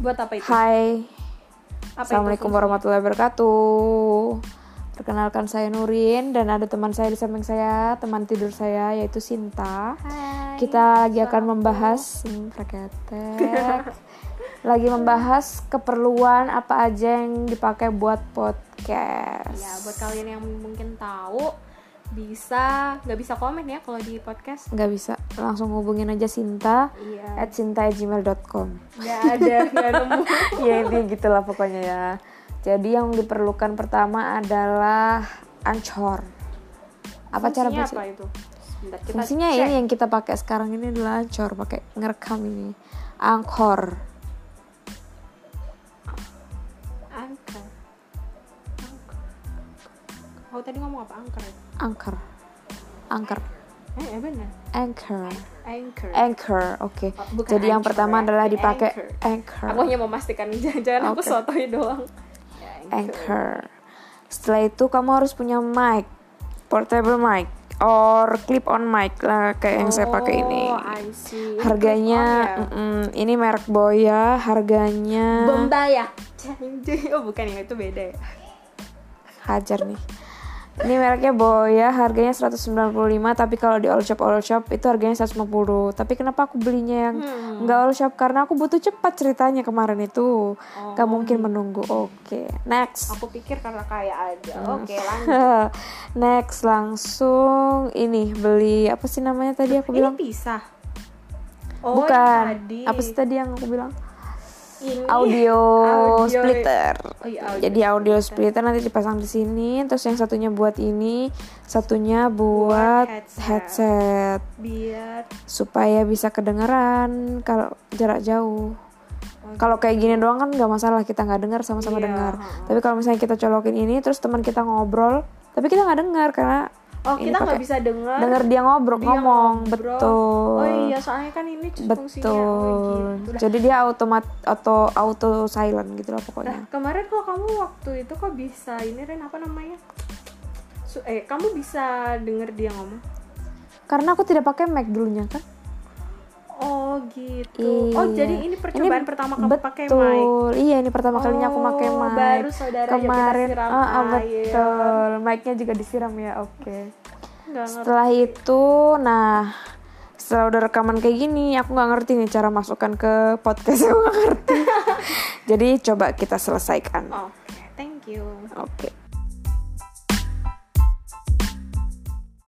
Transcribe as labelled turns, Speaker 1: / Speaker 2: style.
Speaker 1: Buat apa itu?
Speaker 2: Hai,
Speaker 1: Apa itu
Speaker 2: Assalamualaikum
Speaker 1: fungsi?
Speaker 2: warahmatullahi wabarakatuh Perkenalkan saya Nurin dan ada teman saya di samping saya, teman tidur saya yaitu Sinta
Speaker 1: Hai.
Speaker 2: Kita lagi akan
Speaker 1: Selamat
Speaker 2: membahas, hmm, praketek. Lagi membahas keperluan apa aja yang dipakai buat podcast
Speaker 1: Ya, buat kalian yang mungkin tahu bisa nggak bisa komen ya kalau di podcast.
Speaker 2: Nggak bisa, langsung hubungin aja Sinta
Speaker 1: Iya.
Speaker 2: at sinta@gmail.com
Speaker 1: Nggak ada, nggak nemu.
Speaker 2: ya ini gitulah pokoknya ya jadi yang diperlukan pertama adalah ancor apa cara
Speaker 1: Fungsinya
Speaker 2: baca
Speaker 1: apa itu? Sebentar kita
Speaker 2: fungsinya
Speaker 1: cek.
Speaker 2: ini yang kita pakai sekarang ini adalah ancor pakai ngerekam ini angkor
Speaker 1: Angker. Angker. Kau Oh, tadi ngomong apa angker? ya?
Speaker 2: angker angker
Speaker 1: Eh, eh benar.
Speaker 2: anchor
Speaker 1: Anchor.
Speaker 2: anchor oke
Speaker 1: Oh, bukan
Speaker 2: jadi yang
Speaker 1: ancor, ya.
Speaker 2: pertama adalah
Speaker 1: Tapi
Speaker 2: dipakai
Speaker 1: anchor.
Speaker 2: anchor
Speaker 1: Aku hanya memastikan jangan-jangan aku
Speaker 2: Oke.
Speaker 1: sotoi doang. Ya,
Speaker 2: anchor setelah itu kamu harus punya mic portable mic or clip on mic lah kayak yang saya pakai ini
Speaker 1: Oh, I see. oh, iya. Ini
Speaker 2: Harganya
Speaker 1: clip on
Speaker 2: mm-mm, ini merek Boya,
Speaker 1: ya.
Speaker 2: harganya
Speaker 1: Bombay ya. Janji. Oh, bukan ya, itu beda ya.
Speaker 2: hajar nih. Ini mereknya Boya, harganya 195 tapi kalau di all shop all shop itu harganya 150. Tapi kenapa aku belinya yang
Speaker 1: Hmm.
Speaker 2: enggak all shop karena aku butuh cepat ceritanya kemarin itu. Gak
Speaker 1: Oh.
Speaker 2: mungkin menunggu. Oke, next.
Speaker 1: Aku pikir karena kaya aja. Oke, lanjut.
Speaker 2: next langsung ini beli apa sih namanya tadi aku bilang?
Speaker 1: Ini pisah.
Speaker 2: Bukan.
Speaker 1: yang tadi.
Speaker 2: Apa sih tadi yang aku bilang?
Speaker 1: Ini.
Speaker 2: audio,
Speaker 1: Audio.
Speaker 2: splitter.
Speaker 1: Oh iya, audio
Speaker 2: Jadi audio splitter nanti dipasang di sini, terus yang satunya buat ini, satunya buat,
Speaker 1: Buat headset.
Speaker 2: headset.
Speaker 1: Biar
Speaker 2: supaya bisa kedengeran kalau jarak jauh. Kalau kayak gini doang kan nggak masalah kita nggak dengar
Speaker 1: Oh,
Speaker 2: sama-sama
Speaker 1: gitu. Iya,
Speaker 2: dengar.
Speaker 1: ha-ha.
Speaker 2: Tapi kalau misalnya kita colokin ini, terus teman kita ngobrol, tapi kita nggak dengar karena
Speaker 1: Oh,
Speaker 2: ini
Speaker 1: kita nggak
Speaker 2: pakai-
Speaker 1: bisa dengar.
Speaker 2: dengar dia ngobrol
Speaker 1: dia
Speaker 2: ngomong,
Speaker 1: ngobrol.
Speaker 2: betul.
Speaker 1: Oh iya, soalnya kan ini fungsinya. Oh,
Speaker 2: Betul.
Speaker 1: gitu. Lah,
Speaker 2: Jadi dia automat auto auto silent gitu lah pokoknya.
Speaker 1: Nah, kemarin kok kamu waktu itu kok bisa ini Ren apa namanya? Su- eh, kamu bisa denger dia ngomong?
Speaker 2: Karena aku tidak pakai Mac dulunya kan.
Speaker 1: Oh, gitu. Oh,
Speaker 2: Iya.
Speaker 1: jadi ini percobaan
Speaker 2: Ini
Speaker 1: pertama kamu pakai mic.
Speaker 2: Betul. Iya, ini pertama kalinya aku pakai
Speaker 1: Oh,
Speaker 2: mic.
Speaker 1: baru saudara yuk kita
Speaker 2: Kemarin
Speaker 1: siram
Speaker 2: ah, ah,
Speaker 1: air.
Speaker 2: betul. Mic-nya juga disiram ya. Oke.
Speaker 1: Nggak ngerti.
Speaker 2: Setelah itu nah setelah udah rekaman kayak gini, aku nggak ngerti nih cara masukkan ke podcast aku nggak ngerti. Jadi coba kita selesaikan.
Speaker 1: Oke, thank you.
Speaker 2: Oke.